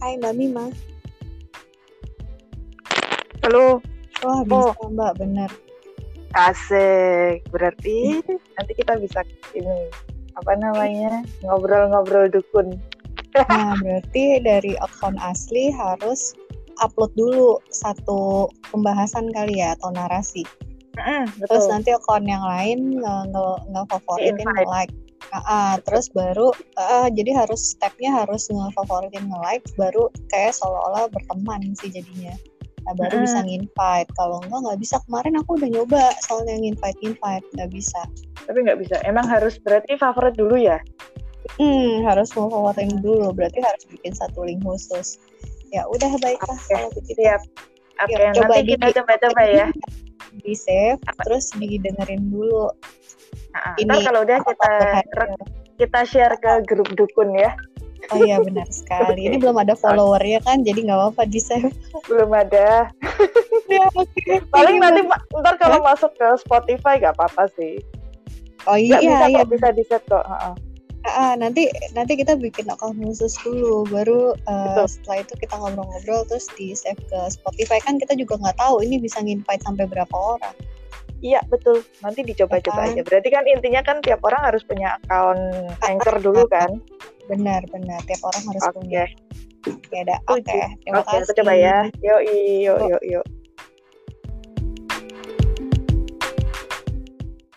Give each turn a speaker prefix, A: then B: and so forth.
A: Hai Mbak Mima.
B: Halo,
A: Wah bisa Mbak, bener.
B: asik. Berarti nanti kita bisa ini apa namanya ngobrol-ngobrol dukun.
A: Nah berarti dari akun asli harus upload dulu satu pembahasan kali ya atau narasi. Terus
B: Betul.
A: nanti akun yang lain nge, nge, nge favoritin,
B: Di-invite.
A: nge like. Ah, ah, terus baru ah, ah, jadi harus stepnya harus ngefavoritin nge like baru kayak seolah-olah berteman sih jadinya nah, baru
B: Mm.
A: bisa nginvite kalau enggak nggak bisa kemarin aku udah nyoba soalnya nginvite invite nggak bisa
B: Tapi nggak bisa. Emang harus berarti favorit dulu ya.
A: Hmm, harus memfavoritkan dulu. Berarti harus bikin satu link khusus. Ya udah baiklah
B: Oke,
A: kalau begitu ya,
B: Siap. Oke,
A: Yuk, coba
B: nanti
A: di-
B: kita coba-coba ya.
A: di save,
B: Apa?
A: terus didengerin dulu.
B: Nah,
A: Ini
B: ntar kalau udah
A: apa kan?
B: kita
A: berhasil.
B: kita share ke grup dukun ya.
A: Oh iya benar sekali. Ini belum ada followernya kan, jadi nggak apa-apa di save.
B: Belum ada.
A: Ya, oke.
B: Paling
A: Iya,
B: nanti ma- ntar kalau masuk ke Spotify nggak apa-apa sih.
A: Oh iya
B: Nggak bisa
A: iya.
B: kok bisa di set kok. Heeh.
A: Ah, ah, nanti nanti kita bikin akun khusus dulu, baru eh,
B: Betul.
A: setelah itu kita ngobrol-ngobrol terus di save ke Spotify kan kita juga nggak tahu ini bisa nginvite sampai berapa orang.
B: Iya betul. Nanti dicoba-coba
A: Apaan?
B: aja. Berarti kan intinya kan tiap orang harus punya akun anchor dulu kan.
A: Benar benar tiap orang Iya, harus
B: Oke.
A: punya. Ya ada. Oke.
B: Setuju.
A: Terima
B: Oke,
A: kasih.
B: aku coba ya. Yo yo yo yo.